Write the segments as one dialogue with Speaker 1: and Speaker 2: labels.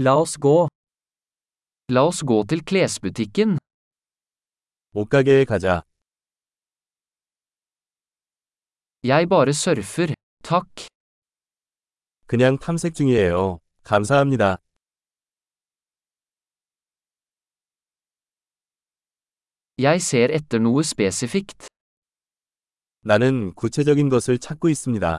Speaker 1: La oss gå. La oss gå til klesbutikken.
Speaker 2: 옷가게에 가자.
Speaker 1: Jeg bare surfer. Takk.
Speaker 2: 그냥 탐색 중이에요. 감사합니다.
Speaker 1: Jeg ser etter noe spesifikt.
Speaker 2: 나는 구체적인 것을 찾고 있습니다.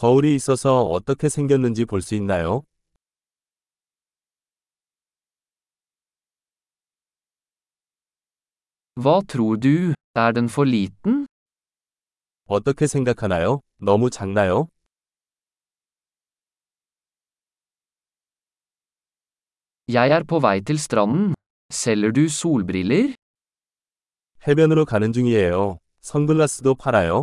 Speaker 2: 거울이 있어서 어떻게 생겼는지 볼 수 있나요?
Speaker 1: Hva tror du? Er den for liten?
Speaker 2: 어떻게 생각하나요? 너무 작나요?
Speaker 1: Jeg er på vei til stranden. Selger du solbriller?
Speaker 2: 해변으로 가는 중이에요. 선글라스도 팔아요?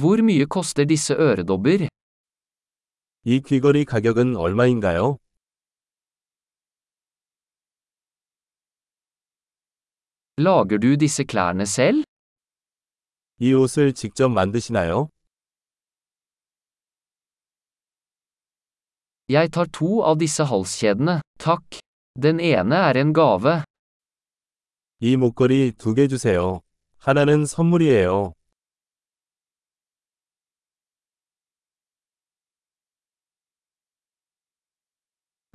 Speaker 1: Hvor mye koster disse øredobber?
Speaker 2: 이 귀걸이 가격은 얼마인가요?
Speaker 1: Lager du disse klærne selv?
Speaker 2: 이 옷을 직접 만드시나요?
Speaker 1: Jeg tar to av disse halskjedene, takk. Den ene er en gave.
Speaker 2: 이 목걸이 두 개 주세요. 하나는 선물이에요.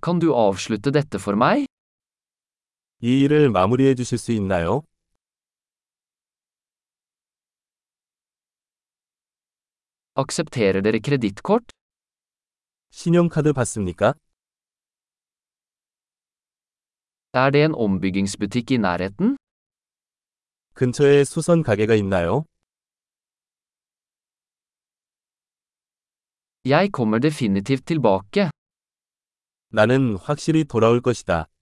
Speaker 1: Kan du avslutte dette for meg?
Speaker 2: 이 일을 마무리해 주실 수 있나요?
Speaker 1: Aksepterer dere kredittkort?
Speaker 2: 신용카드 받습니까?
Speaker 1: Er det en ombyggingsbutikk i nærheten?
Speaker 2: 근처에 수선 가게가 있나요?
Speaker 1: Jeg kommer definitivt tilbake.
Speaker 2: 나는 확실히 돌아올 것이다.